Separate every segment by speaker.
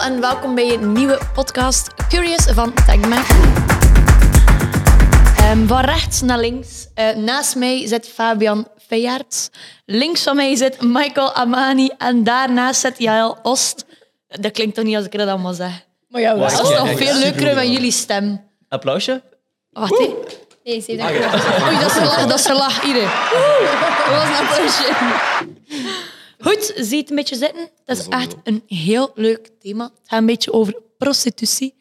Speaker 1: en welkom bij een nieuwe podcast Curious van Tagma. Ehm van rechts naar links. eh, naast mij zit Fabian Feyerts. Links van mij zit Michael Amani. En daarnaast zit Jael Ost. Dat klinkt toch niet als ik dat allemaal zeg.
Speaker 2: Maar ja,
Speaker 1: Dat
Speaker 3: Ja,
Speaker 1: is nog
Speaker 3: echt
Speaker 1: veel leuker
Speaker 3: supergoed,
Speaker 1: met
Speaker 3: ja.
Speaker 1: jullie stem.
Speaker 3: Applausje.
Speaker 1: Wacht, hé.
Speaker 4: Nee, ze heeft
Speaker 1: Oei, dat is een lach, dat is een lach. Hier. Woe! Dat was een applausje. Goed, zie het een beetje zitten. Dat is echt een heel leuk thema. Het gaat een beetje over prostitutie.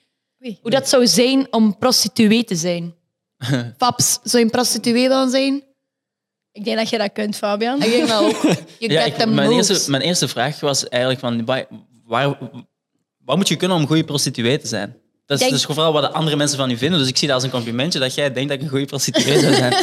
Speaker 2: Oei.
Speaker 1: Hoe dat zou zijn om prostituee te zijn. Paps, zou je een prostituee willen zijn?
Speaker 2: ik denk dat je dat kunt, Fabian.
Speaker 1: Ik denk dat ook. Je
Speaker 3: Ja,
Speaker 1: get
Speaker 3: ik-
Speaker 1: them
Speaker 3: mijn,
Speaker 1: moves.
Speaker 3: eerste, mijn eerste vraag was eigenlijk van, wa- waar, wat moet je kunnen om een goede prostituee te zijn? Dat is
Speaker 1: Denk-
Speaker 3: dus vooral wat de andere mensen van u vinden. Dus ik zie dat als een complimentje, dat jij denkt dat ik een goede prostituee zou zijn.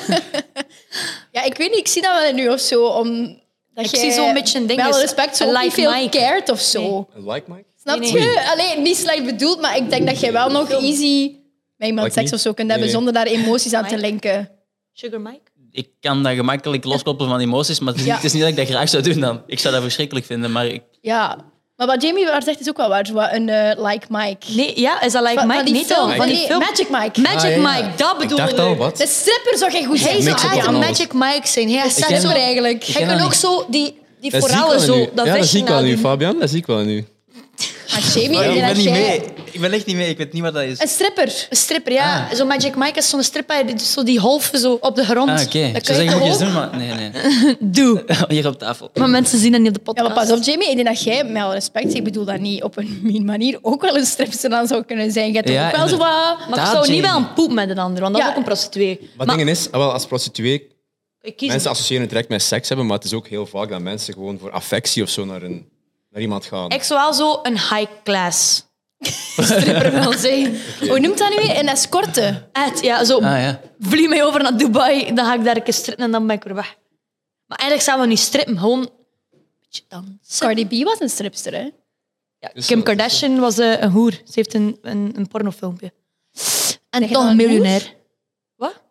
Speaker 2: Ja, ik weet niet, ik zie dat wel in u of zo. Om, dat
Speaker 1: Ik
Speaker 2: jij
Speaker 1: zie zo'n beetje een ding
Speaker 2: Wel
Speaker 1: is,
Speaker 2: respect, zo
Speaker 1: een
Speaker 2: ook niet
Speaker 1: like
Speaker 2: veel
Speaker 1: Mike.
Speaker 2: cared of zo.
Speaker 1: Nee.
Speaker 5: Like Mike?
Speaker 2: Snap
Speaker 1: Nee,
Speaker 2: je? Alleen niet slecht bedoeld, maar ik denk dat jij wel nog easy met iemand
Speaker 5: Like
Speaker 2: seks
Speaker 5: niet?
Speaker 2: of zo kunt hebben
Speaker 5: Nee.
Speaker 2: zonder daar emoties aan te
Speaker 1: Mike?
Speaker 2: linken.
Speaker 1: Sugar Mike?
Speaker 3: Ik kan dat gemakkelijk loskoppelen van emoties, maar het is,
Speaker 2: Ja.
Speaker 3: niet, het is niet dat ik dat graag zou doen dan. Ik zou dat verschrikkelijk vinden, maar ik,
Speaker 2: Ja. Maar wat Jamie waar zegt is ook wel waar. zo wat Een eh, like Mike.
Speaker 1: Nee, ja, is dat like
Speaker 2: Van-
Speaker 1: Mike?
Speaker 2: van die
Speaker 1: niet
Speaker 2: film,
Speaker 1: al, van die film.
Speaker 2: Magic Mike.
Speaker 1: Magic
Speaker 5: Ah, ja, ja.
Speaker 1: Mike, dat
Speaker 5: Ik
Speaker 1: bedoel
Speaker 5: dacht al, wat?
Speaker 2: de stripper zou jij goed
Speaker 1: Hij
Speaker 2: zijn.
Speaker 1: is
Speaker 5: Mix up
Speaker 1: echt
Speaker 5: van
Speaker 1: een
Speaker 5: alles.
Speaker 1: Magic Mike zijn. Hij is
Speaker 3: ken
Speaker 1: echt
Speaker 3: hem
Speaker 1: zo
Speaker 3: niet.
Speaker 1: eigenlijk.
Speaker 3: Ik
Speaker 1: Hij
Speaker 3: ken
Speaker 1: kan
Speaker 3: hem
Speaker 1: ook
Speaker 3: niet.
Speaker 1: zo die, die
Speaker 5: zie ik
Speaker 1: forellen
Speaker 5: wel nu.
Speaker 1: zo. Dat
Speaker 5: ja, dat zie ik wel nu,
Speaker 1: nu.
Speaker 5: Fabian. Dat zie ik wel nu.
Speaker 2: Maar
Speaker 1: Ah,
Speaker 2: Jamie,
Speaker 3: ik
Speaker 2: ik denk
Speaker 3: ben
Speaker 2: dat
Speaker 3: niet mee.
Speaker 2: jij...
Speaker 3: Ik ben echt niet mee. Ik weet niet wat dat is.
Speaker 2: Een stripper.
Speaker 1: Een stripper, ja. Zo'n Magic Mike is zo'n stripper die doet zo die halve zo op de grond.
Speaker 3: Ah, oké.
Speaker 1: Dat
Speaker 3: Ik
Speaker 1: kun
Speaker 3: zou
Speaker 1: je
Speaker 3: zeggen,
Speaker 1: toch
Speaker 3: moet je eens
Speaker 1: ook?
Speaker 3: doen, maar nee, nee.
Speaker 1: Doe.
Speaker 3: Hier op tafel.
Speaker 1: Maar mensen zien dat niet op de
Speaker 2: Ja,
Speaker 1: podcast.
Speaker 2: maar pas op, Jamie. Ik denk dat jij, met alle respect, ik bedoel dat niet op een mean manier, ook wel een stripster dan zou kunnen zijn. Je hebt toch
Speaker 3: Ja,
Speaker 2: ook wel zo wat...
Speaker 1: Maar ik
Speaker 3: Daar,
Speaker 1: zou niet wel
Speaker 3: Jamie.
Speaker 1: een poep met een ander, want dat
Speaker 2: Ja.
Speaker 1: is ook een prostituee.
Speaker 5: Maar
Speaker 1: Maar
Speaker 5: het ding is, ah, wel, als prostituee,
Speaker 1: ik kies
Speaker 5: mensen associëren het direct met seks hebben, maar het is ook heel vaak dat mensen gewoon voor affectie of zo naar, een, naar iemand gaan.
Speaker 1: ik zou wel zo een high-class stripper willen zijn.
Speaker 2: Hoe noemt dat nu weer? Een escorte.
Speaker 1: Echt, ja, zo
Speaker 3: Ah ja.
Speaker 1: vlie mij over naar Dubai, dan ga ik daar een keer strippen en dan ben ik weer weg. Maar eigenlijk zouden we niet strippen, gewoon een beetje dansen.
Speaker 2: Cardi B was een stripster, hè?
Speaker 1: Ja,
Speaker 5: Is
Speaker 1: Kim
Speaker 5: dat-
Speaker 1: Kardashian was eh, een hoer. Ze heeft een, een, een pornofilmpje. En
Speaker 2: je dan
Speaker 1: toch een
Speaker 2: een hoer?
Speaker 1: miljonair. Wat?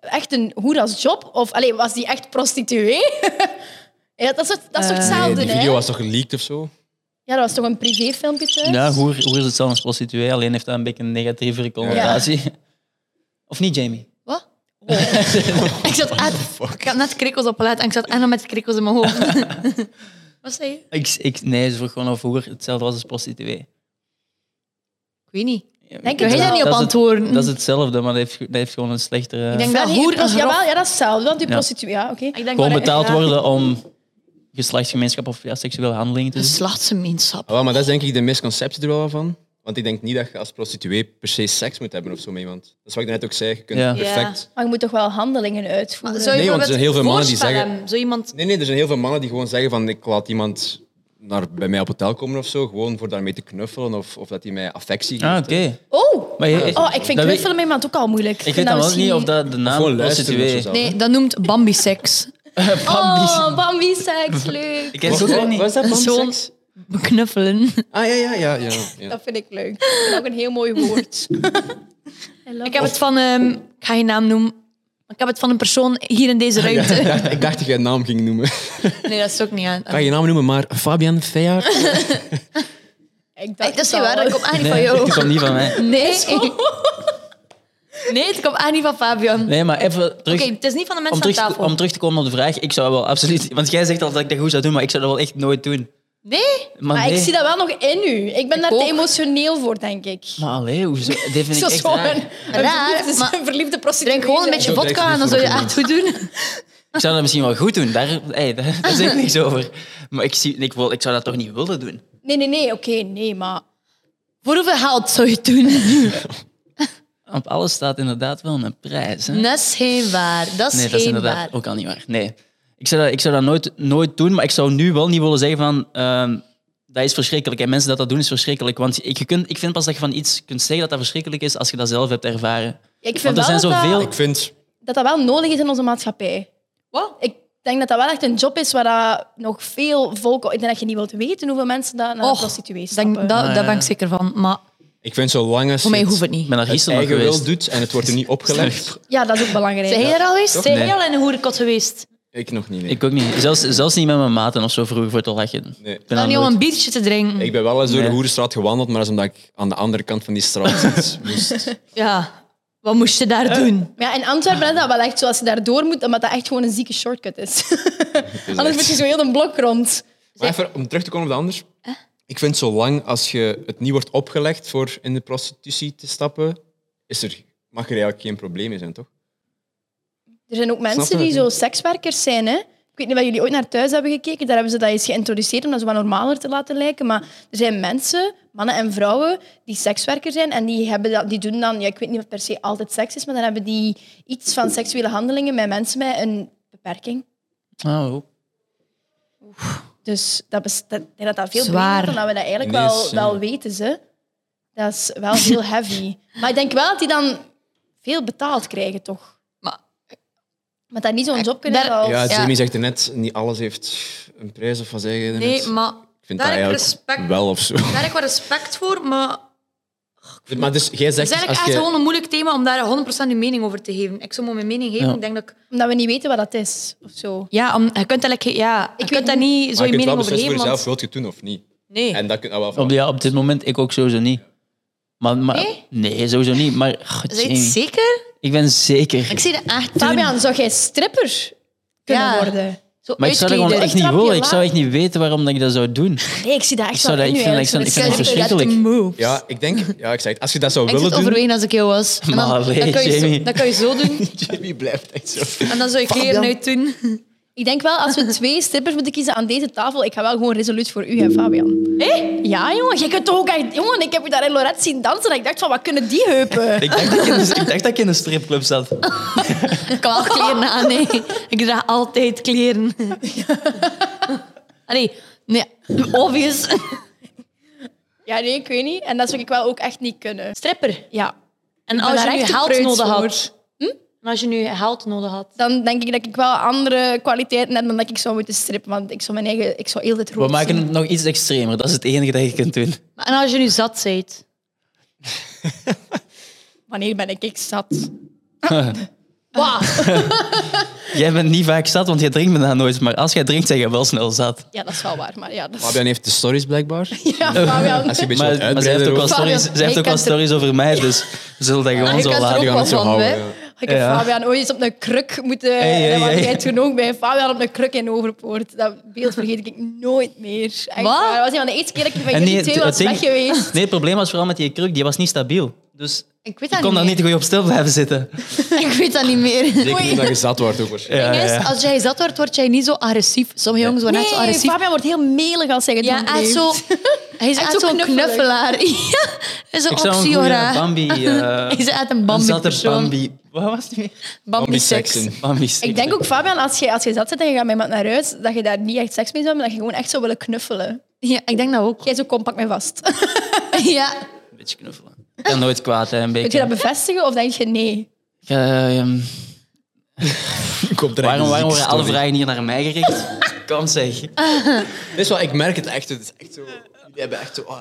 Speaker 2: Echt een hoer als job? Of allee, was die echt prostituee? ja, dat is toch- dat is
Speaker 1: Eh,
Speaker 2: toch
Speaker 5: Nee,
Speaker 2: hetzelfde,
Speaker 5: die
Speaker 2: hè?
Speaker 5: video was toch geleakt of zo?
Speaker 2: Ja, dat was toch een privéfilmpje thuis?
Speaker 3: Ja, hoe, hoe is het zelfs als prostituee? Alleen heeft dat een beetje een negatievere connotatie. Of niet, Jamie?
Speaker 1: Wat? ik zat echt, ik had net krikkels op en ik zat echt nog met krikkels in mijn hoofd. Wat zei je?
Speaker 3: Ik, ik, nee, ze vroeg gewoon of hoe hetzelfde was als prostituee.
Speaker 1: Ik weet niet.
Speaker 2: Denk
Speaker 1: Kun
Speaker 2: het
Speaker 1: je daar
Speaker 2: wel.
Speaker 1: niet op
Speaker 3: Dat is het-
Speaker 1: antwoorden?
Speaker 3: Dat is hetzelfde, maar dat heeft, dat heeft gewoon een slechtere...
Speaker 1: Ik denk
Speaker 2: Ja,
Speaker 1: dat
Speaker 2: nee,
Speaker 1: hoer
Speaker 2: pros-
Speaker 1: is grof.
Speaker 2: jawel, ja, dat is hetzelfde. Want die
Speaker 3: Ja.
Speaker 2: prostituee... Ja, oké.
Speaker 1: Ik denk
Speaker 3: gewoon
Speaker 1: maar-
Speaker 3: betaald
Speaker 1: ja.
Speaker 3: worden om geslachtsgemeenschap of ja, seksuele handelingen te
Speaker 1: Een
Speaker 3: doen.
Speaker 1: slachtsgemeenschap.
Speaker 5: Ah, wel, maar dat is denk ik de misconceptie er wel wel van. Want ik denk niet dat je als prostituee per se seks moet hebben of zo met iemand. Dat is wat ik net ook zei. Je kunt
Speaker 3: Ja.
Speaker 5: perfect...
Speaker 2: Maar je moet toch wel handelingen uitvoeren?
Speaker 1: Zou je
Speaker 5: Nee, want er zijn heel veel mannen die
Speaker 1: voorspellen
Speaker 5: zeggen-
Speaker 1: hem? Zo iemand...
Speaker 5: Nee, nee, er zijn heel veel mannen die gewoon zeggen van ik laat iemand naar, bij mij op hotel komen of zo, gewoon voor daarmee te knuffelen of, of dat hij mij affectie geeft.
Speaker 3: Ah, oké.
Speaker 2: Oh!
Speaker 3: Maar je-
Speaker 2: Oh, ik vind
Speaker 3: dat
Speaker 2: knuffelen met iemand ook al moeilijk. Nou,
Speaker 3: Ik weet dan wel niet of dat de
Speaker 5: Gewoon
Speaker 3: naam
Speaker 5: luisteren
Speaker 3: prostituee...
Speaker 5: of zo zelf, hè.
Speaker 1: Nee, dat noemt Bambi-seks.
Speaker 2: Oh, Bambi seks, leuk.
Speaker 3: Ik ken ze ook niet.
Speaker 5: Wat is dat, man?
Speaker 1: Zo'n
Speaker 5: Seks?
Speaker 1: beknuffelen.
Speaker 5: Ah, ja, ja, ja. ja, ja.
Speaker 2: Dat vind ik leuk. Ik vind dat ook een heel mooi woord.
Speaker 1: Ik heb het van... ehm, ik ga geen naam noemen. maar Ik heb het van een persoon hier in deze ruimte.
Speaker 5: Ik dacht- ik dacht dat je een naam ging noemen.
Speaker 1: Nee, dat is ook niet aan.
Speaker 5: Ga je naam noemen, maar Fabian Feyaert.
Speaker 2: Ik
Speaker 1: Hey,
Speaker 2: dacht
Speaker 1: dat is niet
Speaker 2: al.
Speaker 1: waar, dat komt echt niet van
Speaker 3: Nee,
Speaker 1: jou.
Speaker 3: dat komt niet van mij.
Speaker 1: Nee. Nee, het komt echt niet van Fabian. Oké,
Speaker 3: Nee, maar even terug...
Speaker 1: het is niet van de
Speaker 3: Om
Speaker 1: mensen aan
Speaker 3: terug, te-
Speaker 1: tafel.
Speaker 3: om terug te komen op de vraag, ik zou wel absoluut... Want jij zegt al dat ik dat goed zou doen, maar ik zou dat wel echt nooit doen.
Speaker 1: Nee?
Speaker 3: Maar,
Speaker 2: Maar
Speaker 3: nee.
Speaker 2: ik zie dat wel nog in u. Ik ben daar
Speaker 1: ook.
Speaker 2: te emotioneel voor, denk ik.
Speaker 3: Maar allee, hoezo? Dit vind ik
Speaker 2: Zo
Speaker 3: echt
Speaker 2: zo'n
Speaker 3: raar.
Speaker 2: een
Speaker 1: Raar,
Speaker 2: verliefde,
Speaker 1: maar-
Speaker 2: een verliefde prostituee.
Speaker 1: Drink gewoon een beetje
Speaker 5: Zo direct
Speaker 1: vodka en dan zou je echt goed doen.
Speaker 3: Ik zou dat misschien wel goed doen, daar, hey, daar, daar zeg ik niks over. Maar ik, zie, ik, wil, ik zou dat toch niet willen doen?
Speaker 2: Nee, nee, nee, oké, nee, maar...
Speaker 1: Voor hoeveel geld zou je het doen?
Speaker 3: Op alles staat inderdaad wel een prijs. Hè?
Speaker 1: Dat is geen waar. Dat is
Speaker 3: nee, dat is
Speaker 1: geen
Speaker 3: inderdaad
Speaker 1: waar.
Speaker 3: ook al niet waar. Nee. Ik zou dat, ik zou dat nooit, nooit doen, maar ik zou nu wel niet willen zeggen van... ehm, dat is verschrikkelijk. En mensen dat dat doen, is verschrikkelijk. Want ik, je kunt, ik vind pas dat je van iets kunt zeggen dat dat verschrikkelijk is als je dat zelf hebt ervaren.
Speaker 2: Ik vind
Speaker 3: Want er
Speaker 2: wel
Speaker 3: zijn
Speaker 2: dat,
Speaker 3: zoveel...
Speaker 5: Ik vind...
Speaker 2: dat dat wel nodig is in onze maatschappij.
Speaker 1: Wat?
Speaker 2: Ik denk dat dat wel echt een job is waar dat nog veel volk... Ik denk dat je niet wilt weten hoeveel mensen daar naar
Speaker 1: Och,
Speaker 2: de prostituee
Speaker 1: Denk,
Speaker 2: stappen.
Speaker 1: dat, daar ben ik zeker van. Maar
Speaker 5: Ik vind zolang als
Speaker 1: voor mij
Speaker 5: je
Speaker 1: hoeft
Speaker 5: het
Speaker 1: het niet.
Speaker 3: Ik ben daar
Speaker 5: uit
Speaker 3: gisteren nog
Speaker 5: eigen wil
Speaker 3: geweest.
Speaker 5: doet en het wordt er niet opgelegd.
Speaker 2: Ja, dat is ook belangrijk.
Speaker 1: Zijn jij er al geweest? Zijn
Speaker 5: Nee.
Speaker 1: jij al in een hoerenkot geweest?
Speaker 5: Ik nog niet, nee.
Speaker 3: Ik ook niet. Zelfs, zelfs niet met mijn maten of zo vroeger voor te lachen.
Speaker 5: Nee.
Speaker 3: Ik ben
Speaker 1: Dan
Speaker 3: daar
Speaker 1: Nou, niet om
Speaker 3: nooit-
Speaker 1: een biertje te drinken.
Speaker 5: Ik ben wel eens door
Speaker 3: Nee.
Speaker 5: de Hoerenstraat gewandeld, maar dat is omdat ik aan de andere kant van die straat zit. moest.
Speaker 1: Ja. Wat moest je daar doen?
Speaker 2: Maar ja, in Antwerpen is dat wel echt zo. Als je daar door moet, omdat dat echt gewoon een zieke shortcut is. Anders moet je zo heel een blok rond.
Speaker 5: Maar even om terug te komen op de anders. Ik vind zolang als je het niet wordt opgelegd voor in de prostitutie te stappen, is er, mag er eigenlijk geen probleem in zijn, toch?
Speaker 2: Er zijn ook mensen
Speaker 5: Snap je?
Speaker 2: die zo sekswerkers zijn, hè? Ik weet niet of jullie ooit naar thuis hebben gekeken. Daar hebben ze dat eens geïntroduceerd om dat zo wat normaler te laten lijken. Maar er zijn mensen, mannen en vrouwen, die sekswerker zijn. En die, hebben dat, die doen dan, ja, ik weet niet of het per se altijd seks is, maar dan hebben die iets van seksuele handelingen met mensen met een beperking.
Speaker 3: Oh,
Speaker 2: Dus dat bes- dat- ik denk dat dat veel
Speaker 1: Zwaar.
Speaker 2: breder is dan dat we dat eigenlijk
Speaker 5: Ineens,
Speaker 2: wel, wel
Speaker 5: ja.
Speaker 2: weten. Ze. Dat is wel heel heavy. Maar ik denk wel dat die dan veel betaald krijgen, toch?
Speaker 1: Maar-
Speaker 2: Want dat niet zo'n job kunnen
Speaker 1: Daar-
Speaker 2: als...
Speaker 5: Ja,
Speaker 1: Ja.
Speaker 5: Jamie zegt er net, niet alles heeft een prijs of wat zeg je daarnet?
Speaker 1: Nee, maar
Speaker 5: Ik vind
Speaker 1: daar
Speaker 5: dat
Speaker 1: heb ik
Speaker 5: eigenlijk
Speaker 1: respect,
Speaker 5: wel of zo.
Speaker 1: daar heb ik wel respect voor, maar
Speaker 5: Maar dus, jij
Speaker 1: het
Speaker 5: zegt
Speaker 1: is eigenlijk
Speaker 5: als
Speaker 1: echt
Speaker 5: je...
Speaker 1: gewoon een moeilijk thema om daar 100% je mening over te geven. Ik zou maar mijn mening geven.
Speaker 3: Ja.
Speaker 1: Ik denk dat ik-
Speaker 2: Omdat we niet weten wat dat is, of zo.
Speaker 1: ja, om, je kunt eigenlijk geen- ja, je kunt daar niet zo je
Speaker 5: Maar je kunt wel
Speaker 1: mening over
Speaker 5: beslissen voor
Speaker 1: geven.
Speaker 5: jezelf,
Speaker 1: want-
Speaker 5: wil je het doen of niet?
Speaker 1: Nee.
Speaker 5: En dat kun je wel
Speaker 3: op, ja, op dit moment ik ook sowieso niet. Maar, maar,
Speaker 2: Nee?
Speaker 3: sowieso niet. Maar god,
Speaker 1: Zijn je het
Speaker 3: Jamie,
Speaker 1: zeker?
Speaker 3: ik ben zeker.
Speaker 1: Ik zie dat echt
Speaker 2: Fabian, zou jij stripper kunnen
Speaker 1: Ja.
Speaker 2: worden?
Speaker 1: Zo
Speaker 3: maar ik zou
Speaker 1: uitkleden.
Speaker 3: dat gewoon echt niet
Speaker 2: Trapje
Speaker 3: willen. Ik
Speaker 2: laag.
Speaker 3: zou echt niet weten waarom dat ik dat zou doen.
Speaker 2: Nee, ik zie dat echt
Speaker 3: Ik zou
Speaker 2: wel
Speaker 3: dat-
Speaker 2: in
Speaker 3: ik
Speaker 2: u,
Speaker 3: vind dat-
Speaker 2: eigenlijk,
Speaker 3: ik
Speaker 2: zo'n
Speaker 3: vind dat
Speaker 1: Ik zou
Speaker 2: stripper.
Speaker 3: verschrikkelijk.
Speaker 1: echt moe.
Speaker 5: Ja, ik denk, ja, ik zeg het, als je dat zou
Speaker 1: Ik zou
Speaker 5: willen
Speaker 1: het
Speaker 5: doen...
Speaker 1: overwegen als ik jou was. En dan,
Speaker 3: Maar allee,
Speaker 1: dan kan je zo,
Speaker 3: Jamie.
Speaker 1: dan kan je zo doen.
Speaker 5: Jamie blijft echt zo.
Speaker 1: En dan zou ik kleren uit doen.
Speaker 2: Ik denk wel, als we twee strippers moeten kiezen aan deze tafel, ik ga wel gewoon resoluut voor u en Fabian. Hé? Ja, jongen. Jij kunt toch ook echt... Jongen, ik heb je daar in Lorette zien dansen en ik dacht van, wat kunnen die heupen?
Speaker 3: Ik dacht, dat ik, in een, ik dacht dat ik in een stripclub zat.
Speaker 1: Ik kan wel kleren aan, nee. Ik draag altijd kleren. Allee, nee, obvious.
Speaker 2: Ja, nee, ik weet niet. En dat zou ik wel ook echt niet kunnen.
Speaker 1: Stripper.
Speaker 2: Ja.
Speaker 1: En
Speaker 2: ben
Speaker 1: als je
Speaker 2: daar
Speaker 1: nu
Speaker 2: echt
Speaker 1: geld
Speaker 2: preuts
Speaker 1: nodig
Speaker 2: voor.
Speaker 1: had... Hm? En als je nu geld nodig had...
Speaker 2: Dan denk ik dat ik wel andere kwaliteiten heb dan dat ik zou moeten strippen. Want ik zou mijn eigen... Ik zou heel dit
Speaker 3: We
Speaker 2: rood
Speaker 3: maken
Speaker 2: zien.
Speaker 3: het nog iets extremer. Dat is het enige dat je kunt doen.
Speaker 1: Maar En als je nu zat bent...
Speaker 2: Wanneer ben ik, ik zat? Wauw.
Speaker 3: Jij bent niet vaak zat, want jij drinkt me dan nooit. Maar als jij drinkt, ben je wel snel zat.
Speaker 2: Ja, dat is wel waar. Maar ja, dat is...
Speaker 5: Fabian heeft de stories blijkbaar.
Speaker 2: Ja, Fabian.
Speaker 5: Als je een beetje
Speaker 3: Maar,
Speaker 5: wat
Speaker 3: maar zij
Speaker 5: uitbreider
Speaker 3: heeft ook wel
Speaker 5: wilt-
Speaker 2: Fabian,
Speaker 3: stories, zij heeft
Speaker 2: jij
Speaker 3: ook wel
Speaker 2: kent er-
Speaker 3: stories over mij, dus we zullen dat gewoon
Speaker 1: je
Speaker 3: zo
Speaker 1: kent er
Speaker 5: Die
Speaker 3: laten.
Speaker 5: gaan het zo
Speaker 1: Ook wel van,
Speaker 5: houden.
Speaker 1: hè?
Speaker 5: ja.
Speaker 2: Ik heb
Speaker 3: Ja.
Speaker 2: Fabian ooit eens op een kruk moeten...
Speaker 3: Hey, hey,
Speaker 2: dat was
Speaker 3: hey.
Speaker 2: jij toen ook bij Fabian op een kruk in Overpoort. Dat beeld vergeet ik nooit meer. Echt,
Speaker 1: Wat?
Speaker 2: waar. Dat was een van de eerste keer dat ik van
Speaker 3: En
Speaker 2: jullie
Speaker 3: nee,
Speaker 2: twee
Speaker 3: het-
Speaker 2: was
Speaker 3: het
Speaker 2: weg
Speaker 3: ding-
Speaker 2: geweest.
Speaker 3: Nee, het probleem was vooral met die kruk. Die was niet stabiel. Dus
Speaker 1: Ik weet
Speaker 3: ik
Speaker 1: dat
Speaker 2: Nou,
Speaker 3: kon daar
Speaker 1: niet
Speaker 3: niet goed op stil blijven zitten.
Speaker 1: meer. Ik weet dat niet meer.
Speaker 5: Zeker omdat je zat wordt ook waarschijnlijk.
Speaker 1: Het ding is, als jij zat wordt, word jij niet zo agressief. Sommige jongens worden net zo agressief.
Speaker 2: Fabian wordt heel melig als hij het
Speaker 1: Ja, echt zo... Hij is
Speaker 2: Echt
Speaker 1: echt
Speaker 2: zo
Speaker 1: zo'n
Speaker 2: knuffelig.
Speaker 1: knuffelaar. Ja, hij is een
Speaker 3: Ik zou een goeie
Speaker 1: oxyora.
Speaker 3: Bambi... eh,
Speaker 1: Hij is echt een
Speaker 3: een zatte
Speaker 1: Bambi-persoon.
Speaker 3: Bambi... Wat was het nu weer?
Speaker 5: Bambi
Speaker 1: Bambi-seks.
Speaker 5: seksen.
Speaker 3: Bambi
Speaker 2: Ik denk ook, Fabian, als je, als je zat zit en je gaat met iemand naar huis, dat je daar niet echt seks mee zou hebben, maar dat je gewoon echt zou willen knuffelen.
Speaker 1: Ja, ik denk dat ook.
Speaker 2: Jij zo, kom, pak mij vast.
Speaker 1: Ja.
Speaker 3: Een beetje knuffelen. Ik kan nooit kwaad, hè, een
Speaker 2: Kun je
Speaker 3: beetje.
Speaker 2: dat bevestigen of denk je nee?
Speaker 3: Ik, eh, ehm,
Speaker 5: Komt er echt
Speaker 3: waarom waarom
Speaker 5: een zieke
Speaker 3: worden alle
Speaker 5: story.
Speaker 3: vragen hier naar mij gericht? Kom zeg.
Speaker 5: Dit is wel, ik merk het echt. Het is echt zo. Jullie hebben echt zo. ah,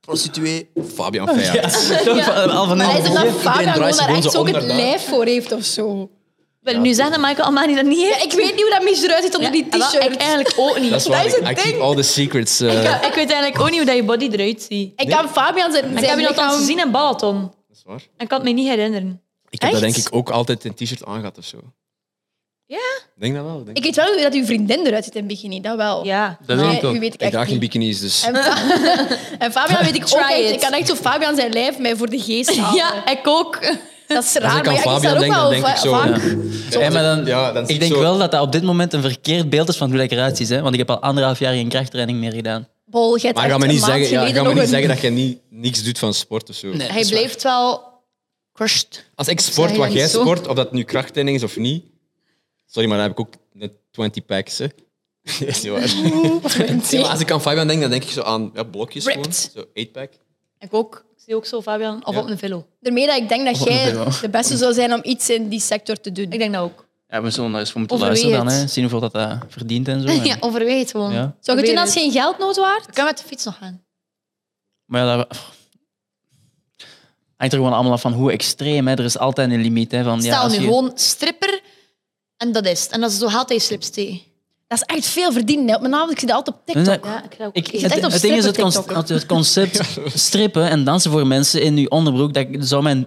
Speaker 5: prostituee. Fabian
Speaker 1: Oh,
Speaker 5: Feijers.
Speaker 3: Al van
Speaker 2: Maar hij is omdat
Speaker 3: heel-
Speaker 5: Iedereen
Speaker 2: Fabian gewoon
Speaker 5: draait zich
Speaker 2: daar
Speaker 5: gewoon
Speaker 2: echt
Speaker 5: zo
Speaker 2: zo ook het
Speaker 5: onder, hè?
Speaker 2: lijf voor heeft of zo.
Speaker 1: Wil je nu zeggen dat Michael Amani dat niet heeft?
Speaker 2: Ik weet niet hoe dat mis eruit ziet onder die
Speaker 1: Ja, ah, wel,
Speaker 2: t-shirt.
Speaker 1: Ik eigenlijk ook niet.
Speaker 5: Dat is waar.
Speaker 2: is
Speaker 5: ik-
Speaker 2: het
Speaker 5: I keep
Speaker 2: ding.
Speaker 5: all the secrets. eh,
Speaker 1: Ik ik weet eigenlijk ook niet hoe dat je body eruit ziet.
Speaker 2: Ik kan Fabian zijn,
Speaker 1: Ik heb
Speaker 2: zijn
Speaker 1: je dat al
Speaker 2: lichaam...
Speaker 1: gezien in Balaton.
Speaker 5: dat is waar.
Speaker 1: Ik kan het me niet herinneren.
Speaker 5: Ik heb dat
Speaker 2: Echt?
Speaker 5: denk ik ook altijd een t-shirt aangehad of zo.
Speaker 1: Ja?
Speaker 5: Ik Denk dat wel. ik Denk.
Speaker 2: Ik
Speaker 5: Ik,
Speaker 2: weet wel dat uw vriendin eruit zit in bikini, dat wel.
Speaker 1: Ja.
Speaker 3: Dat
Speaker 2: Nee,
Speaker 3: weet ik ook.
Speaker 2: u weet ik echt
Speaker 5: draag geen
Speaker 2: niet.
Speaker 5: bikinis, dus.
Speaker 2: En, Fa- en Fabian weet ik
Speaker 1: Try
Speaker 2: ook echt.
Speaker 1: it.
Speaker 2: Ik kan echt zo Fabian zijn lijf mij voor de geest halen.
Speaker 1: Ja, ik ook.
Speaker 2: Dat is raar,
Speaker 5: Als ik
Speaker 2: maar ja,
Speaker 5: aan
Speaker 2: ik sta
Speaker 5: Fabian
Speaker 2: er ook
Speaker 5: denk,
Speaker 2: wel
Speaker 5: dan denk ik
Speaker 2: va-
Speaker 5: zo.
Speaker 2: vaak.
Speaker 3: Ja, maar dan,
Speaker 5: Ja, dan zie
Speaker 3: ik
Speaker 5: ik
Speaker 3: denk
Speaker 5: zo-
Speaker 3: wel dat dat op dit moment een verkeerd beeld is van hoe dat ik eruit zie. Hè? Want ik heb al anderhalf jaar geen krachttraining meer gedaan.
Speaker 2: Bol, jij hebt
Speaker 5: Maar ga
Speaker 2: echt
Speaker 5: me niet
Speaker 2: een maand
Speaker 5: zeggen, ja,
Speaker 2: geleden
Speaker 5: ga me
Speaker 2: nog
Speaker 5: niet
Speaker 2: een-
Speaker 5: zeggen dat je niet, niks doet van sport of zo.
Speaker 3: Nee.
Speaker 1: Hij blijft wel crushed.
Speaker 5: Als ik
Speaker 1: zeg
Speaker 5: sport
Speaker 1: je
Speaker 5: wat
Speaker 1: niet
Speaker 5: jij
Speaker 1: zo?
Speaker 5: sport, of dat nu krachttraining is of niet. Sorry, maar dan heb ik ook net 20 packs. Hè. Ja, is niet waar. Nee, maar als ik aan Fabian denk, dan denk ik zo aan ja, blokjes. Gewoon.
Speaker 1: Ripped.
Speaker 5: Zo 8 pack.
Speaker 3: Dus
Speaker 1: Ik ook. Ik zie ook zo Fabian. Of op een velo.
Speaker 2: Daarmee dat ik denk dat
Speaker 5: Oh,
Speaker 2: jij
Speaker 3: nee, wel.
Speaker 2: de beste zou zijn om iets in die sector te doen.
Speaker 1: Ik denk dat ook.
Speaker 3: Ja, we zullen daar eens voor moeten
Speaker 1: Overweeg
Speaker 3: luisteren dan.
Speaker 1: het.
Speaker 3: Hè? Zien hoeveel dat, dat verdient en zo. En-
Speaker 1: Ja, overweeg het gewoon.
Speaker 3: Ja.
Speaker 2: Zou je het doen als
Speaker 1: je...
Speaker 2: geen geldnood waard?
Speaker 1: Ik kan met de fiets nog gaan.
Speaker 3: Maar ja, dat hangt er gewoon allemaal af van hoe extreem. Hè? Er is altijd een limiet. Hè? Van, ja,
Speaker 1: Stel
Speaker 3: als
Speaker 1: nu
Speaker 3: je-
Speaker 1: gewoon stripper En dat is het. En dat is zo haalt hij slips tegen.
Speaker 2: Dat is echt veel verdienen. hè. Op mijn avond, ik zie dat altijd op TikTok.
Speaker 3: Nee, nee.
Speaker 1: Ja, ik krijg ook-
Speaker 3: Ik,
Speaker 2: Je zit
Speaker 3: het,
Speaker 2: echt op
Speaker 3: het ding is het,
Speaker 2: strippen
Speaker 3: concept- het- het concept strippen en dansen voor mensen in uw onderbroek, dat zou mij n-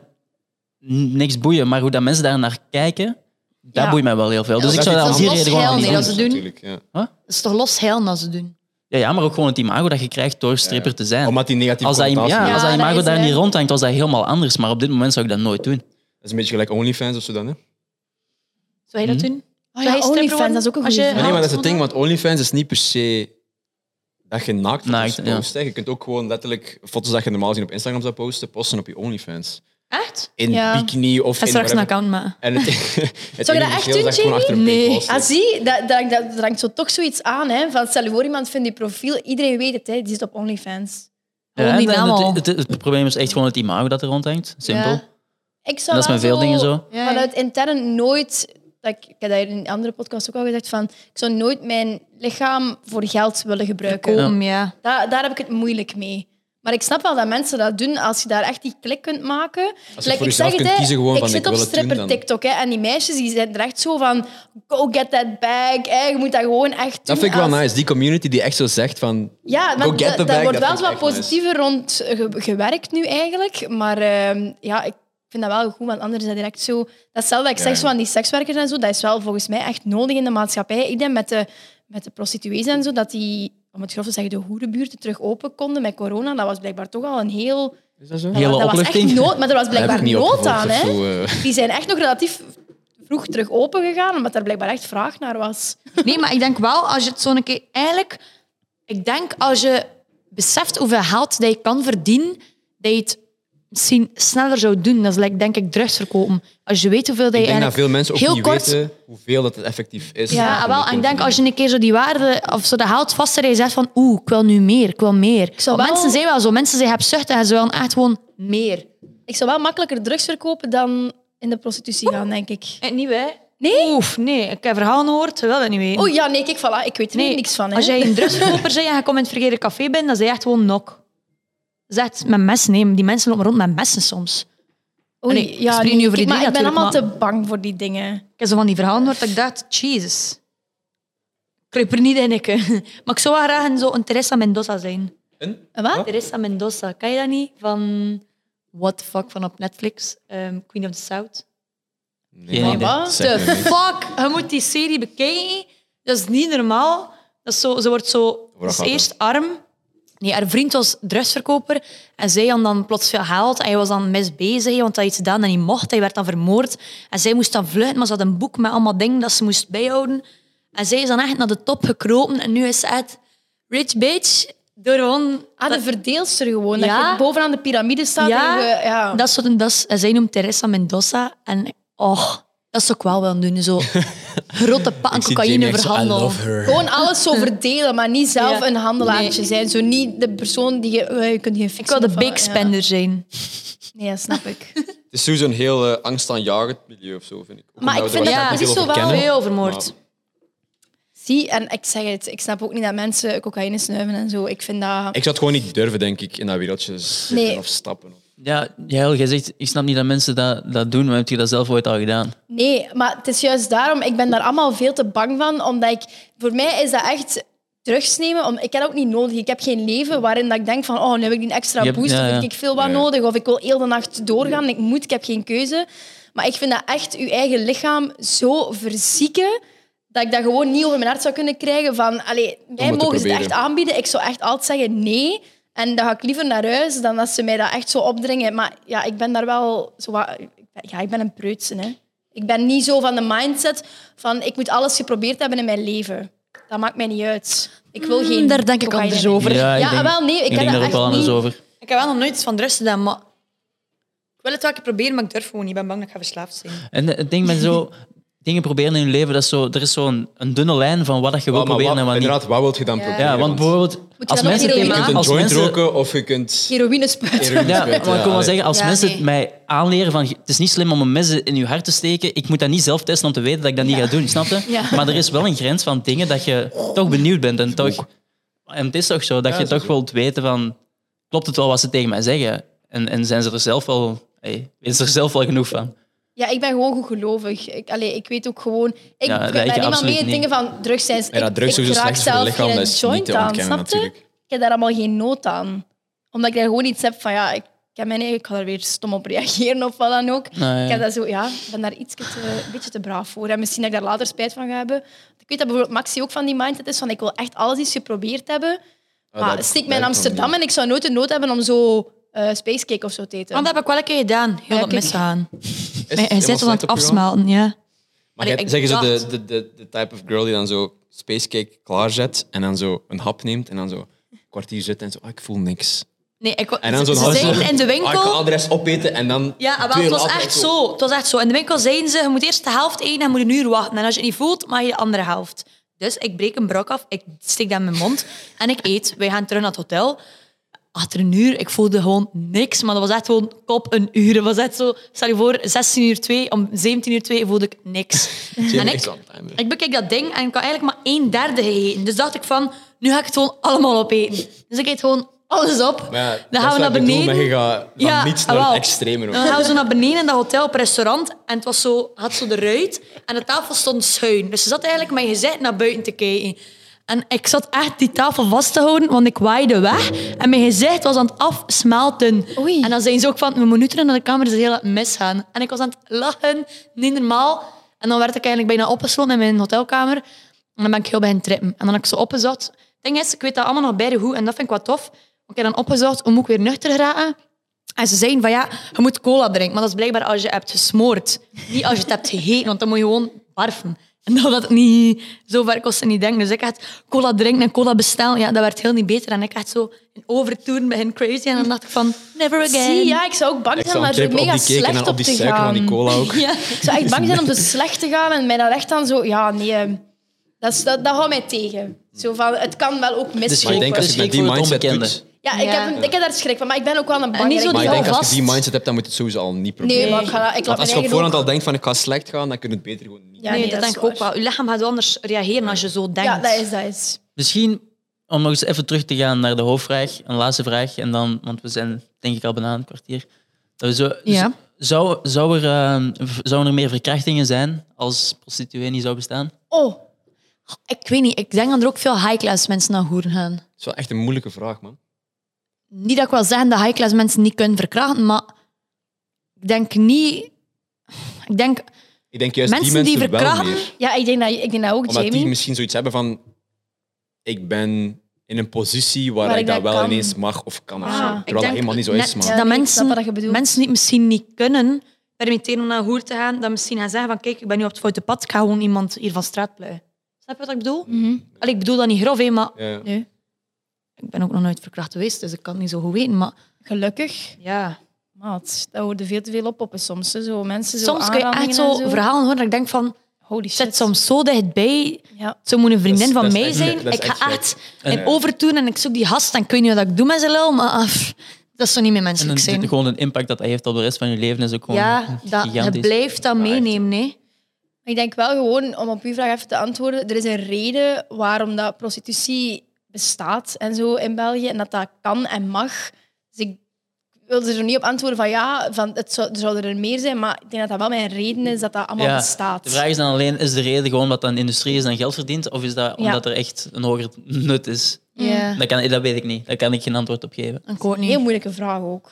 Speaker 3: niks boeien. Maar hoe dat mensen daar naar kijken, dat
Speaker 2: Ja.
Speaker 3: boeit mij wel heel veel. Dus
Speaker 1: dat
Speaker 3: ik zou
Speaker 1: is
Speaker 3: dat om
Speaker 1: iets
Speaker 3: die
Speaker 1: anders.
Speaker 3: reden gewoon nog
Speaker 1: Geil,
Speaker 3: niet
Speaker 1: nee,
Speaker 3: doen.
Speaker 1: dat is- ze doen.
Speaker 5: Natuurlijk, ja.
Speaker 1: Dat is toch los heil als ze doen.
Speaker 3: Ja, ja, maar ook gewoon het imago dat je krijgt door stripper te zijn.
Speaker 5: Omdat die negatieve
Speaker 3: als dat, im-
Speaker 5: connotatie
Speaker 3: ja,
Speaker 5: heeft.
Speaker 3: als dat
Speaker 2: Ja,
Speaker 3: imago
Speaker 2: dat is
Speaker 3: daar
Speaker 2: het,
Speaker 3: niet
Speaker 2: hè.
Speaker 3: rondhangt, was dat helemaal anders. Maar op dit moment zou ik dat nooit doen.
Speaker 5: Dat is een beetje gelijk OnlyFans of zo dan, hè?
Speaker 1: Zou jij dat doen?
Speaker 2: Oh ja,
Speaker 1: Zou jij stripper
Speaker 2: OnlyFans,
Speaker 1: worden
Speaker 2: dat is ook een
Speaker 1: als
Speaker 2: goeie
Speaker 1: je
Speaker 2: vraag.
Speaker 5: Maar nee, maar dat is het
Speaker 1: haalt?
Speaker 5: ding, want OnlyFans is niet per se dat je naakt foto's
Speaker 3: Naakt, ja.
Speaker 5: post. hè. Je kunt ook gewoon letterlijk foto's dat je normaal gezien op Instagram zou posten, posten op je OnlyFans.
Speaker 1: Echt?
Speaker 5: In
Speaker 2: Ja.
Speaker 5: bikini of
Speaker 1: Ga
Speaker 5: in
Speaker 1: straks een
Speaker 5: whatever.
Speaker 1: account maken.
Speaker 5: En het, het
Speaker 2: Zou je
Speaker 5: enige
Speaker 2: dat echt
Speaker 5: verschil is
Speaker 2: doen,
Speaker 5: dat je gewoon
Speaker 2: Jamie?
Speaker 5: achter een
Speaker 1: Nee.
Speaker 5: paywall staat.
Speaker 2: Ah, zie, dat, dat, dat dat hangt zo toch zoiets aan. Hè? Van, stel je voor, iemand vindt die profiel. Iedereen weet het, hè? die zit op OnlyFans.
Speaker 1: Gewoon die
Speaker 3: en
Speaker 1: naam
Speaker 3: het,
Speaker 1: al.
Speaker 3: het- het- het probleem is echt gewoon het imago dat er rondhangt. Simpel.
Speaker 2: Ja. Ik zou
Speaker 3: Dat is met
Speaker 2: wel
Speaker 3: veel dingen zo.
Speaker 1: Ja, ja.
Speaker 2: Vanuit intern nooit... Dat ik, ik heb dat hier in een andere podcast ook al gezegd. Van, ik zou nooit mijn lichaam voor geld willen gebruiken.
Speaker 1: Kom, ja.
Speaker 2: Da- daar heb ik het moeilijk mee. Maar ik snap wel dat mensen dat doen als je daar echt die klik kunt maken.
Speaker 5: voor
Speaker 2: Like,
Speaker 5: jezelf
Speaker 2: het,
Speaker 5: kunt
Speaker 2: hè,
Speaker 5: kiezen gewoon
Speaker 2: ik
Speaker 5: van,
Speaker 2: zit
Speaker 5: ik
Speaker 2: op
Speaker 5: wil het doen
Speaker 2: stripper
Speaker 5: dan.
Speaker 2: TikTok hè, en die meisjes die zijn er echt zo van go get that bag. Hè. Je moet dat gewoon echt doen.
Speaker 5: Dat vind ik wel
Speaker 2: als-
Speaker 5: nice, die community die echt zo zegt van...
Speaker 2: Ja, maar
Speaker 5: Go get
Speaker 2: da-
Speaker 5: the
Speaker 2: daar
Speaker 5: bag,
Speaker 2: wordt
Speaker 5: dat
Speaker 2: wel
Speaker 5: vind ik
Speaker 2: wat
Speaker 5: echt nice.
Speaker 2: positiever rond ge- gewerkt nu eigenlijk. Maar ehm, ja, ik vind dat wel goed, want anders is dat direct zo... Datzelfde dat ik
Speaker 5: Ja,
Speaker 2: zeg
Speaker 5: ja.
Speaker 2: zo aan die sekswerkers en zo, dat is wel volgens mij echt nodig in de maatschappij. Ik denk met de, met de prostituees en zo, dat die, om het grof te zeggen, de hoerenbuurten terug open konden met corona. Dat was blijkbaar toch al een heel...
Speaker 5: Is dat zo?
Speaker 3: Hele
Speaker 2: dat was
Speaker 3: opluchting.
Speaker 2: echt nood, maar er was
Speaker 5: Dat heb ik
Speaker 2: blijkbaar
Speaker 5: niet
Speaker 2: nood
Speaker 5: opgevolgd
Speaker 2: aan.
Speaker 5: of
Speaker 2: Hè?
Speaker 5: zo, eh.
Speaker 2: Die zijn echt nog relatief vroeg terug open gegaan, omdat er blijkbaar echt vraag naar was.
Speaker 1: Nee, maar ik denk wel, als je het zo'n keer... Eigenlijk, ik denk als je beseft hoeveel geld dat je kan verdienen, dat je het misschien sneller zou doen. Dat is like, denk ik drugs verkopen. Als je weet hoeveel dat
Speaker 5: Ik
Speaker 1: je
Speaker 5: denk dat
Speaker 1: eigenlijk...
Speaker 5: veel mensen ook
Speaker 1: heel
Speaker 5: niet
Speaker 1: kort-
Speaker 5: weten hoeveel dat het effectief is.
Speaker 1: Ja,
Speaker 5: om
Speaker 1: wel.
Speaker 5: dat
Speaker 1: En ik
Speaker 5: te
Speaker 1: denk
Speaker 5: doen.
Speaker 1: als je een keer zo die waarde of zo de haalt vast en je zegt van oeh, ik wil nu meer, ik wil meer.
Speaker 2: zou
Speaker 1: Want
Speaker 2: wel-
Speaker 1: Mensen zijn wel zo, mensen zijn hebzuchtig en ze willen echt gewoon meer.
Speaker 2: Ik zou wel makkelijker drugs verkopen dan in de prostitutie gaan, denk ik.
Speaker 1: En Eh, niet wij? Nee? Oef, nee. Ik heb verhalen gehoord, ze willen dat niet weten.
Speaker 2: Oh ja, nee, kijk, voilà, ik weet er
Speaker 1: Nee,
Speaker 2: niks van. Hè.
Speaker 1: Als jij een drugsverkoper bent en je komt in het verkeerde café bent, dan zijn je echt gewoon nok. Zegt met messen, nee, die mensen lopen rond met messen soms.
Speaker 2: Oei,
Speaker 1: nee, ik spreek nu over die
Speaker 2: kijk, maar
Speaker 1: dingen
Speaker 2: ik ben allemaal
Speaker 1: natuurlijk,
Speaker 2: te bang voor die dingen.
Speaker 1: Ik heb zo van die verhalen gehoord dat ik dacht, jezus. Ik kruip er niet in, ik. hè. Maar ik zou wel graag een, zo een Teresa Mendoza zijn.
Speaker 5: En?
Speaker 2: En Wat?
Speaker 5: Wat?
Speaker 1: Teresa Mendoza, kan je dat niet? Van What the Fuck van op Netflix, ehm, Queen of the South.
Speaker 5: Nee,
Speaker 3: Geen
Speaker 5: nee,
Speaker 2: idee.
Speaker 5: dat
Speaker 1: The
Speaker 5: zegt me niks.
Speaker 1: fuck, je moet die serie bekijken. Dat is niet normaal. Dat is zo, ze wordt zo
Speaker 5: Waar
Speaker 1: dus
Speaker 5: gaat dat?
Speaker 1: eerst arm. Nee, haar vriend was drugsverkoper en zij had dan plots veel geld. En hij was dan misbezig, want hij had iets gedaan dat niet mocht. Hij werd dan vermoord. En zij moest dan vluchten, maar ze had een boek met allemaal dingen dat ze moest bijhouden. En zij is dan echt naar de top gekropen. En nu is ze echt rich bitch. Door gewoon...
Speaker 2: Ah, de verdeelster gewoon.
Speaker 1: Ja.
Speaker 2: Dat je bovenaan de piramide staat.
Speaker 1: Ja.
Speaker 2: En je, ja.
Speaker 1: Dat soort, dat is, en zij noemt Teresa Mendoza. En oh, dat zou ik wel willen doen. Zo grote pakken
Speaker 5: Ik zie Jamie
Speaker 1: cocaïne
Speaker 5: echt zo, I
Speaker 1: verhandelen.
Speaker 5: love her.
Speaker 2: Gewoon alles zo verdelen, maar niet zelf
Speaker 1: Ja.
Speaker 2: een handelaartje
Speaker 1: Nee.
Speaker 2: zijn. Zo niet de persoon die je... eh, je kunt geen
Speaker 1: Ik wil de big
Speaker 2: spender.
Speaker 1: spender zijn.
Speaker 2: Nee, dat snap ik.
Speaker 5: Het is sowieso een heel eh, angstaanjagend milieu of zo, vind ik. Ook
Speaker 2: Maar
Speaker 5: omdat
Speaker 2: ik
Speaker 5: we er
Speaker 2: vind dat-
Speaker 5: waarschijnlijk
Speaker 2: dat
Speaker 5: niet
Speaker 2: is
Speaker 5: veel
Speaker 2: zo wel
Speaker 5: over kennen.
Speaker 1: Veel vermoord.
Speaker 2: Zie, en ik zeg het, ik snap ook niet dat mensen cocaïne snuiven en zo. Ik vind dat...
Speaker 5: Ik zou het gewoon niet durven, denk ik, in dat wereldje zitten
Speaker 2: Nee.
Speaker 5: of stappen.
Speaker 3: Ja, Jael, jij zegt, ik snap niet dat mensen dat, dat doen, maar heb je dat zelf ooit al gedaan?
Speaker 2: Nee, maar het is juist daarom, ik ben daar allemaal veel te bang van. Omdat ik, voor mij is dat echt drugs nemen. Om, ik heb dat ook niet nodig. Ik heb geen leven waarin dat ik denk van, oh, nu heb ik die extra
Speaker 3: Je hebt-
Speaker 2: boost.
Speaker 3: ja,
Speaker 2: Of
Speaker 3: ja.
Speaker 2: heb ik veel wat
Speaker 5: Ja.
Speaker 2: nodig. Of ik wil heel de nacht doorgaan. Ik moet, ik heb geen keuze. Maar ik vind dat echt je eigen lichaam zo verzieken. Dat ik dat gewoon niet over mijn hart zou kunnen krijgen. Van, allee, mij
Speaker 5: het
Speaker 2: mogen ze
Speaker 5: te
Speaker 2: het
Speaker 5: proberen.
Speaker 2: echt aanbieden. Ik zou echt altijd zeggen nee. En dan ga ik liever naar huis dan dat ze mij dat echt zo opdringen. Maar ja, ik ben daar wel zo wat... Ja, ik ben een preutsen, hè. Ik ben niet zo van de mindset van ik moet alles geprobeerd hebben in mijn leven. Dat maakt mij niet uit. Ik wil geen...
Speaker 1: Mm, daar denk ik
Speaker 2: cocaïne
Speaker 1: anders
Speaker 2: meer.
Speaker 1: over.
Speaker 3: Ja, ik
Speaker 2: Ja,
Speaker 3: denk,
Speaker 2: wel, nee, ik heb
Speaker 3: denk
Speaker 2: dat
Speaker 3: daar ook
Speaker 2: echt
Speaker 3: wel anders
Speaker 2: niet.
Speaker 3: over.
Speaker 1: Ik heb wel nog nooit iets van drugs gedaan, maar... Ik wil het wel een keer proberen, maar ik durf gewoon niet. Ik ben bang dat ik ga verslaafd zijn.
Speaker 3: En het ding met zo dingen proberen in je leven, dat is zo, er is zo'n een dunne lijn van wat dat je wil
Speaker 5: Maar wat-
Speaker 3: proberen en wat niet.
Speaker 5: inderdaad, wat wil je dan proberen?
Speaker 3: Ja, want bijvoorbeeld als
Speaker 2: dan ook
Speaker 3: mensen
Speaker 2: niet
Speaker 3: tegen
Speaker 5: je kunt een
Speaker 3: als
Speaker 5: joint
Speaker 3: mensen-
Speaker 5: roken of je kunt...
Speaker 2: Heroïne spuiten.
Speaker 3: Ja,
Speaker 5: Ja,
Speaker 3: maar ik wil wel
Speaker 5: allee.
Speaker 3: zeggen, als
Speaker 1: Ja,
Speaker 3: mensen
Speaker 1: nee.
Speaker 3: mij aanleren van het is niet slim om een mes in je hart te steken, ik moet dat niet zelf testen om te weten dat ik dat niet ga doen, snap je?
Speaker 2: Ja.
Speaker 3: Maar er is wel een grens van dingen dat je toch benieuwd bent en toch... En het is toch zo, dat je toch wilt weten van, klopt het wel wat ze tegen mij zeggen? En, en zijn ze er zelf wel... Hey, is er zelf wel genoeg van?
Speaker 2: Ja, ik ben gewoon goed gelovig. Ik, allee, ik weet ook gewoon... Ik
Speaker 3: Ja,
Speaker 2: ben
Speaker 3: dat ik
Speaker 2: niemand
Speaker 3: absoluut
Speaker 2: mee
Speaker 3: niet.
Speaker 2: dingen van drugs zijn...
Speaker 5: Ja,
Speaker 2: ik, ik
Speaker 5: drugs sowieso
Speaker 2: raak
Speaker 5: slecht voor
Speaker 2: zelf
Speaker 5: je lichaam,
Speaker 2: geen
Speaker 5: dat is niet
Speaker 2: joint
Speaker 5: te
Speaker 2: aan,
Speaker 5: ontkennen
Speaker 2: snap je?
Speaker 5: natuurlijk.
Speaker 2: Ik heb daar allemaal geen nood aan. Omdat ik daar gewoon iets heb van... Ja, ik, heb mijn, eigen- ik ga daar weer stom op reageren of wat dan ook.
Speaker 5: Nou
Speaker 3: Nee.
Speaker 2: Ik heb dat zo, ja, ik ben daar iets te, een beetje te braaf voor. En misschien dat ik daar later spijt van ga hebben. Ik weet dat bijvoorbeeld Maxi ook van die mindset is van ik wil echt alles eens geprobeerd hebben.
Speaker 5: Ah,
Speaker 2: maar
Speaker 5: dat-
Speaker 2: steek
Speaker 5: dat
Speaker 2: mij in
Speaker 5: heb ik nog
Speaker 2: Amsterdam
Speaker 5: niet.
Speaker 2: en ik zou nooit de nood hebben om zo eh spacecake of zo te eten.
Speaker 1: Want dat heb ik wel een keer gedaan. Heel
Speaker 2: Ja,
Speaker 1: dat
Speaker 2: kijk.
Speaker 1: misgaan.
Speaker 5: Is het
Speaker 1: Hij zit
Speaker 5: helemaal
Speaker 1: aan het
Speaker 5: slecht opgegaan?
Speaker 1: afsmelten, ja.
Speaker 5: Maar
Speaker 1: Allee,
Speaker 5: jij-
Speaker 1: ik
Speaker 5: zeg je zo de,
Speaker 1: dacht-
Speaker 5: de, de, de type of girl die dan zo spacecake klaarzet en dan zo een hap neemt en dan zo een kwartier zit en zo, ah, ik voel niks.
Speaker 1: Nee, ik,
Speaker 5: En
Speaker 1: ze
Speaker 5: dan zo'n
Speaker 1: ze
Speaker 5: half
Speaker 1: zeiden
Speaker 5: uur,
Speaker 1: in de
Speaker 5: Ah, ik ga
Speaker 1: winkel...
Speaker 5: adres opeten en dan...
Speaker 1: Ja, wel,
Speaker 5: twee
Speaker 1: het
Speaker 5: uur
Speaker 1: was
Speaker 5: later
Speaker 1: echt zo. Het was echt zo. In de winkel zeiden ze, je moet eerst de helft eten en moet een uur wachten. En als je het niet voelt, mag je de andere helft. Dus ik breek een brok af, ik steek dat in mijn mond en ik eet. Wij gaan terug naar het hotel. Achter een uur, ik voelde gewoon niks. Maar dat was echt gewoon kop een uur. Het was echt zo, stel je voor, 16 uur 2, om 17 uur 2 voelde ik niks.
Speaker 5: Zie je
Speaker 1: en
Speaker 5: niks
Speaker 1: ik,
Speaker 5: aan het einde.
Speaker 1: ik bekijk dat ding en ik had eigenlijk maar een derde gegeten. Dus dacht ik van, nu ga ik het gewoon allemaal opeten. Dus ik eet gewoon alles op.
Speaker 5: Maar ja,
Speaker 1: Dan
Speaker 5: dat
Speaker 1: gaan
Speaker 5: is
Speaker 1: we naar
Speaker 5: wat ik
Speaker 1: beneden.
Speaker 5: bedoel, maar je gaat van
Speaker 1: Ja, ah,
Speaker 5: niets naar
Speaker 1: jawel.
Speaker 5: het extreme. ook.
Speaker 1: En dan gaan we zo naar beneden in dat hotel op restaurant. En het was zo, had zo de ruit. En de tafel stond schuin. Dus ze zat eigenlijk met je gezicht naar buiten te kijken. En ik zat echt die tafel vast te houden, want ik waaide weg. En mijn gezicht was aan het afsmelten.
Speaker 2: Oei.
Speaker 1: En dan zijn ze ook van, we moeten nu terug naar de kamer, ze is heel aan het misgaan. En ik was aan het lachen, niet normaal. En dan werd ik eigenlijk bijna opgesloten in mijn hotelkamer. En dan ben ik heel bij hen trippen. En dan had ik ze opgezocht. Het ding is, ik weet dat allemaal nog bij de hoe, en dat vind ik wat tof. Ik heb dan opgezocht, hoe moet ik weer nuchter geraken? En ze zeiden van ja, je moet cola drinken. Maar dat is blijkbaar als je hebt gesmoord. Niet als je het hebt gegeten, want dan moet je gewoon barfen. En dat dat niet zo ver kost ze niet denken. Dus ik had cola drinken en cola bestellen. Ja, dat werd heel niet beter. En ik had zo een overtoon begin crazy. En dan dacht ik van, never again.
Speaker 2: Zie, ja, ik zou ook bang
Speaker 5: Ik
Speaker 2: zijn om
Speaker 5: zou
Speaker 2: daar
Speaker 5: een
Speaker 2: zo
Speaker 5: trip op
Speaker 2: mega
Speaker 5: die cake en
Speaker 2: slecht
Speaker 5: dan
Speaker 2: op,
Speaker 5: op die
Speaker 2: te
Speaker 5: suiker van
Speaker 2: gaan.
Speaker 5: die cola ook.
Speaker 1: Ja.
Speaker 2: Ik zou echt bang zijn om te slecht te gaan en mij daar echt dan zo... Ja, nee, eh, dat, is- dat, dat houdt mij tegen. Zo van, het kan wel ook
Speaker 5: Maar ik denk
Speaker 2: mislopen.
Speaker 5: als
Speaker 3: Dus
Speaker 5: je met
Speaker 3: ik
Speaker 5: die
Speaker 3: voel het
Speaker 5: mindset
Speaker 3: onbekende.
Speaker 5: doet...
Speaker 2: Ja, ik,
Speaker 1: Ja.
Speaker 2: Heb, ik heb daar schrik van, maar ik ben ook wel een
Speaker 1: En niet zo
Speaker 2: bang.
Speaker 5: Maar ik
Speaker 1: hou
Speaker 5: denk als
Speaker 1: vast.
Speaker 5: je die mindset hebt, dan moet je het sowieso al niet proberen.
Speaker 2: Nee, maar ik, ga, dat- ik laat
Speaker 5: Want
Speaker 2: mijn
Speaker 5: als je op
Speaker 2: eigen
Speaker 5: voorhand
Speaker 2: ook...
Speaker 5: al denkt van ik ga slecht gaan, dan kun je het beter gewoon niet.
Speaker 2: Ja,
Speaker 1: nee,
Speaker 2: nee,
Speaker 1: dat,
Speaker 2: dat is
Speaker 1: denk ik ook
Speaker 2: waar.
Speaker 1: wel. Je lichaam gaat anders reageren als je zo denkt.
Speaker 2: Ja, dat is, dat is.
Speaker 3: Misschien om nog eens even terug te gaan naar de hoofdvraag, een laatste vraag, en dan, want we zijn denk ik al bijna een kwartier. Dat we zo,
Speaker 1: Ja.
Speaker 3: z- zou, zou, er, ehm, v- zouden er meer verkrachtingen zijn als prostituee niet zou bestaan?
Speaker 2: Oh,
Speaker 1: Ik weet niet, ik denk dat er ook veel high-class mensen naar hoeren gaan.
Speaker 5: Het is wel echt een moeilijke vraag, man.
Speaker 1: niet dat ik wil zeggen dat high-class mensen niet kunnen verkrachten, maar ik denk niet... Ik denk
Speaker 5: Ik denk juist
Speaker 1: mensen
Speaker 5: die
Speaker 1: die,
Speaker 5: mensen wel
Speaker 1: verkrachten...
Speaker 5: meer.
Speaker 2: ja, ik denk dat, ik denk dat ook,
Speaker 5: Omdat die
Speaker 2: Jamie.
Speaker 5: misschien zoiets hebben van... Ik ben in een positie waar,
Speaker 2: Waar
Speaker 5: ik
Speaker 2: ik
Speaker 5: dat
Speaker 2: dat
Speaker 5: wel
Speaker 2: kan.
Speaker 5: ineens mag of kan. of
Speaker 2: Ah,
Speaker 5: zo.
Speaker 2: ik
Speaker 5: Terwijl dat
Speaker 1: denk
Speaker 5: helemaal niet zo is,
Speaker 1: net
Speaker 5: man.
Speaker 2: Ja,
Speaker 1: dat
Speaker 2: nee, ik
Speaker 1: mensen,
Speaker 2: snap wat je bedoelt.
Speaker 1: mensen die het misschien niet kunnen permitteren om naar hoer te gaan, dat misschien gaan zeggen van kijk, ik ben nu op het foute pad, ik ga gewoon iemand hier van straat pluien. Snap je wat ik bedoel?
Speaker 2: Mhm.
Speaker 1: Allee, ik bedoel dat niet grof, hè, maar
Speaker 5: Ja.
Speaker 1: nee. ik ben ook nog nooit verkracht geweest, dus ik kan het niet zo goed weten. Maar
Speaker 2: Gelukkig.
Speaker 1: ja,
Speaker 2: Maat, dat hoorde veel te veel oppoppen soms. hè. Zo, mensen zo
Speaker 1: soms kun je echt
Speaker 2: aanrandingen
Speaker 1: zo,
Speaker 2: en zo.
Speaker 1: verhalen horen dat ik denk van,
Speaker 2: Holy
Speaker 1: ik
Speaker 2: shit.
Speaker 1: zit soms zo dichtbij,
Speaker 2: Ja.
Speaker 1: Zo moet een vriendin
Speaker 5: Dat
Speaker 1: van
Speaker 5: is- dat is
Speaker 1: mij
Speaker 5: echt-
Speaker 1: zijn.
Speaker 5: dat is
Speaker 1: ik ga
Speaker 5: echt
Speaker 1: echt
Speaker 3: En-
Speaker 1: in overtoen en ik zoek die gast en ik weet niet wat ik doe met zijn lul, maar ah, pff, dat is zo niet meer
Speaker 3: En
Speaker 1: menselijk
Speaker 3: dan-
Speaker 1: zijn.
Speaker 3: gewoon de impact dat dat heeft op de rest van je leven is ook gewoon
Speaker 1: Ja, dat, je
Speaker 3: gigantisch.
Speaker 1: blijft dat
Speaker 5: Ja, echt.
Speaker 1: meenemen. Nee.
Speaker 2: Ik denk wel gewoon, om op uw vraag even te antwoorden, er is een reden waarom dat prostitutie bestaat en zo in België en dat dat kan en mag. Dus ik wil er zo niet op antwoorden van ja, van het zou, er zouden er meer zijn, maar ik denk dat dat wel mijn reden is dat dat allemaal
Speaker 3: Ja,
Speaker 2: bestaat.
Speaker 3: De vraag is dan alleen, is de reden gewoon dat dat een industrie is en geld verdient? Of is dat omdat er echt een hoger nut is?
Speaker 1: Ja.
Speaker 3: Dat, kan, dat weet ik niet. Daar kan ik geen antwoord op geven.
Speaker 1: Ik hoor
Speaker 2: Een heel
Speaker 1: niet.
Speaker 2: moeilijke vraag ook.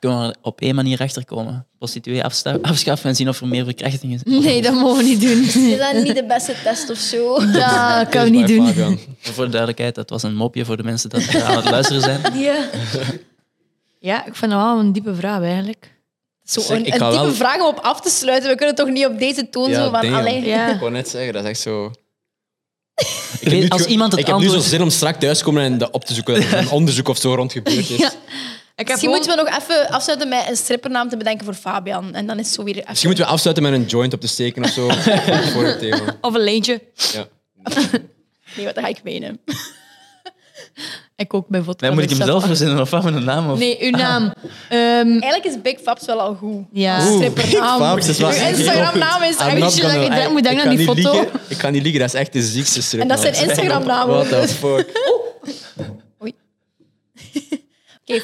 Speaker 3: Kunnen we er op één manier achter komen? Prostituee afsta- afschaffen en zien of er meer verkrachtingen zijn.
Speaker 1: Nee, dat mogen we niet doen.
Speaker 2: Is dat niet de beste test of zo?
Speaker 1: Dat
Speaker 5: Dat
Speaker 1: kan
Speaker 5: is
Speaker 1: we niet
Speaker 5: bij
Speaker 1: doen.
Speaker 5: Fabian.
Speaker 3: Voor de duidelijkheid, dat was een mopje voor de mensen die aan het luisteren zijn.
Speaker 1: Ja. ja, ik vind dat wel een diepe vraag eigenlijk.
Speaker 2: Zo
Speaker 5: Zeg,
Speaker 2: een,
Speaker 5: ik
Speaker 2: een
Speaker 5: ga
Speaker 2: type
Speaker 5: wel-
Speaker 2: vraag om op af te sluiten. We kunnen toch niet op deze toon zo van...
Speaker 5: damn.
Speaker 2: Allee.
Speaker 1: Ja.
Speaker 5: Ik wou net zeggen, dat is echt zo... Ik
Speaker 3: weet-
Speaker 5: heb nu
Speaker 3: als
Speaker 5: ge-
Speaker 3: iemand het
Speaker 5: ik heb nu zo'n
Speaker 3: antwoord-
Speaker 5: zin om straks thuis te komen en dat op te zoeken. dat er Een onderzoek of zo rond gebeurd is.
Speaker 1: Ja. Ik heb
Speaker 2: Misschien
Speaker 1: gewoon...
Speaker 2: moeten we nog even afsluiten met een strippernaam te bedenken voor Fabian. En dan is het zo weer...
Speaker 5: Misschien moeten we afsluiten met een joint op te steken of zo. voor het thema.
Speaker 1: Of een lijntje.
Speaker 5: Ja.
Speaker 2: Nee, wat ga ik menen.
Speaker 1: Ik ook bij vodka.
Speaker 3: Nee, moet ik hem
Speaker 1: dus
Speaker 3: zelf
Speaker 1: dat-
Speaker 3: verzinnen of wat met een naam? Of?
Speaker 1: Nee, uw
Speaker 5: Ah.
Speaker 1: naam. Ehm,
Speaker 2: Eigenlijk is Big Fabs wel al goed.
Speaker 1: ja.
Speaker 5: Oeh,
Speaker 2: Strippernaam.
Speaker 5: Fabs is wel
Speaker 2: nou. Uw
Speaker 5: echt
Speaker 2: Instagram-naam is
Speaker 5: I'm
Speaker 2: echt...
Speaker 5: not
Speaker 1: je dat
Speaker 5: gonna-
Speaker 1: je denkt- moet
Speaker 5: ik
Speaker 1: denken
Speaker 5: ga
Speaker 1: aan die
Speaker 5: niet
Speaker 1: foto?
Speaker 5: liegen. Ik kan niet liegen, dat is echt de ziekste strip.
Speaker 2: En dat zijn
Speaker 5: man.
Speaker 2: Instagram-namen.
Speaker 5: What
Speaker 2: Oké,
Speaker 5: the fuck.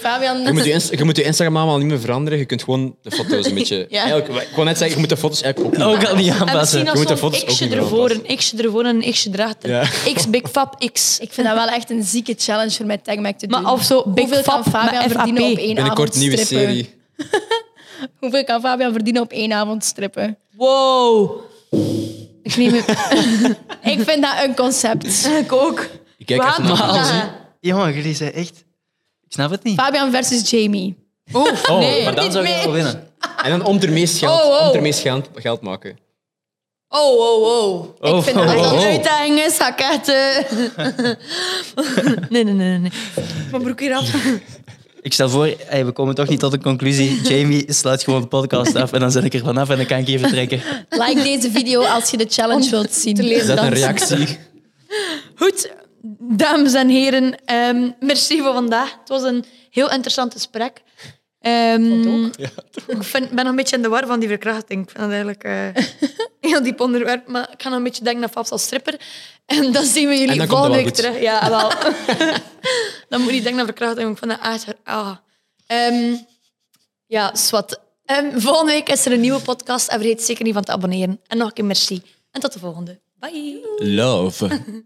Speaker 2: Fabian.
Speaker 5: Je moet je, Inst- je moet je Instagram allemaal niet meer veranderen. Je kunt gewoon de foto's een beetje...
Speaker 1: Ja.
Speaker 5: Eigenlijk, ik kon net zeggen, je moet de foto's eigenlijk ook niet
Speaker 3: Ook al niet
Speaker 1: En
Speaker 3: aanpassen.
Speaker 1: misschien
Speaker 5: Je moet de
Speaker 1: als
Speaker 5: foto's
Speaker 1: zo'n
Speaker 5: ook
Speaker 1: x'je
Speaker 5: niet meer
Speaker 1: ervoor, een x'je ervoor en een x'je erachter.
Speaker 5: Ja.
Speaker 1: X, big fab, x.
Speaker 2: Ik vind dat wel echt een zieke challenge voor mijn tagmac te doen.
Speaker 1: Maar of zo, Big
Speaker 2: Hoeveel kan
Speaker 1: Fab met
Speaker 2: Fabian
Speaker 1: FAP?
Speaker 2: verdienen op één
Speaker 5: Binnenkort
Speaker 2: avond
Speaker 5: nieuwe
Speaker 2: strippen?
Speaker 5: serie.
Speaker 2: Hoeveel kan Fabian verdienen op één avond strippen?
Speaker 1: Wow. Ik neem het.
Speaker 2: Ik vind dat een concept.
Speaker 1: ik ook.
Speaker 5: Ik kijk
Speaker 1: We
Speaker 5: even
Speaker 1: gaan
Speaker 5: naar...
Speaker 1: het
Speaker 3: Maar
Speaker 1: doen.
Speaker 3: als-
Speaker 1: Ja.
Speaker 3: Jongen, jullie zijn echt... Ik snap het niet.
Speaker 2: Fabian versus Jamie.
Speaker 1: Oeh,
Speaker 3: Oh,
Speaker 1: nee.
Speaker 3: maar dan zou
Speaker 1: Niet
Speaker 3: je wel
Speaker 1: mee.
Speaker 3: winnen.
Speaker 5: En dan om er meest geld,
Speaker 1: Oh, oh.
Speaker 5: Om er meest geld, geld maken.
Speaker 1: Oh, oh, oh.
Speaker 3: Oh,
Speaker 2: ik vind dat
Speaker 3: oh,
Speaker 2: echt
Speaker 3: oh,
Speaker 1: Als
Speaker 3: oh.
Speaker 1: dat uitdaging is, ga ik echt... eh, nee, nee, nee, nee. Mijn broek hier af.
Speaker 3: Ik stel voor, hey, we komen toch niet tot een conclusie. Jamie sluit gewoon de podcast af en dan zet ik er vanaf en dan kan ik hier vertrekken.
Speaker 2: Like deze video als je de challenge wilt zien.
Speaker 1: te
Speaker 5: Is
Speaker 1: leren
Speaker 5: dat een
Speaker 1: dansen.
Speaker 5: reactie?
Speaker 1: Goed, dames en heren. ehm, merci voor vandaag. Het was een heel interessant gesprek. Ehm,
Speaker 2: ook.
Speaker 1: Ik vind, ben nog een beetje in de war van die verkrachting. Ik vind dat eigenlijk eh, heel diep onderwerp. Maar ik ga nog een beetje denken naar Fabs als stripper. En dan zien we
Speaker 5: En
Speaker 1: jullie
Speaker 5: dan komt
Speaker 1: volgende week
Speaker 5: dat wel
Speaker 1: terug. Ja, wel. dan moet je niet denken naar verkrachting. want Ik vind dat echt... Ah. Ehm, ja, zwart. Ehm, volgende week is er een nieuwe podcast. En vergeet zeker niet van te abonneren. En nog een keer merci. En tot de volgende. Bye.
Speaker 5: Love.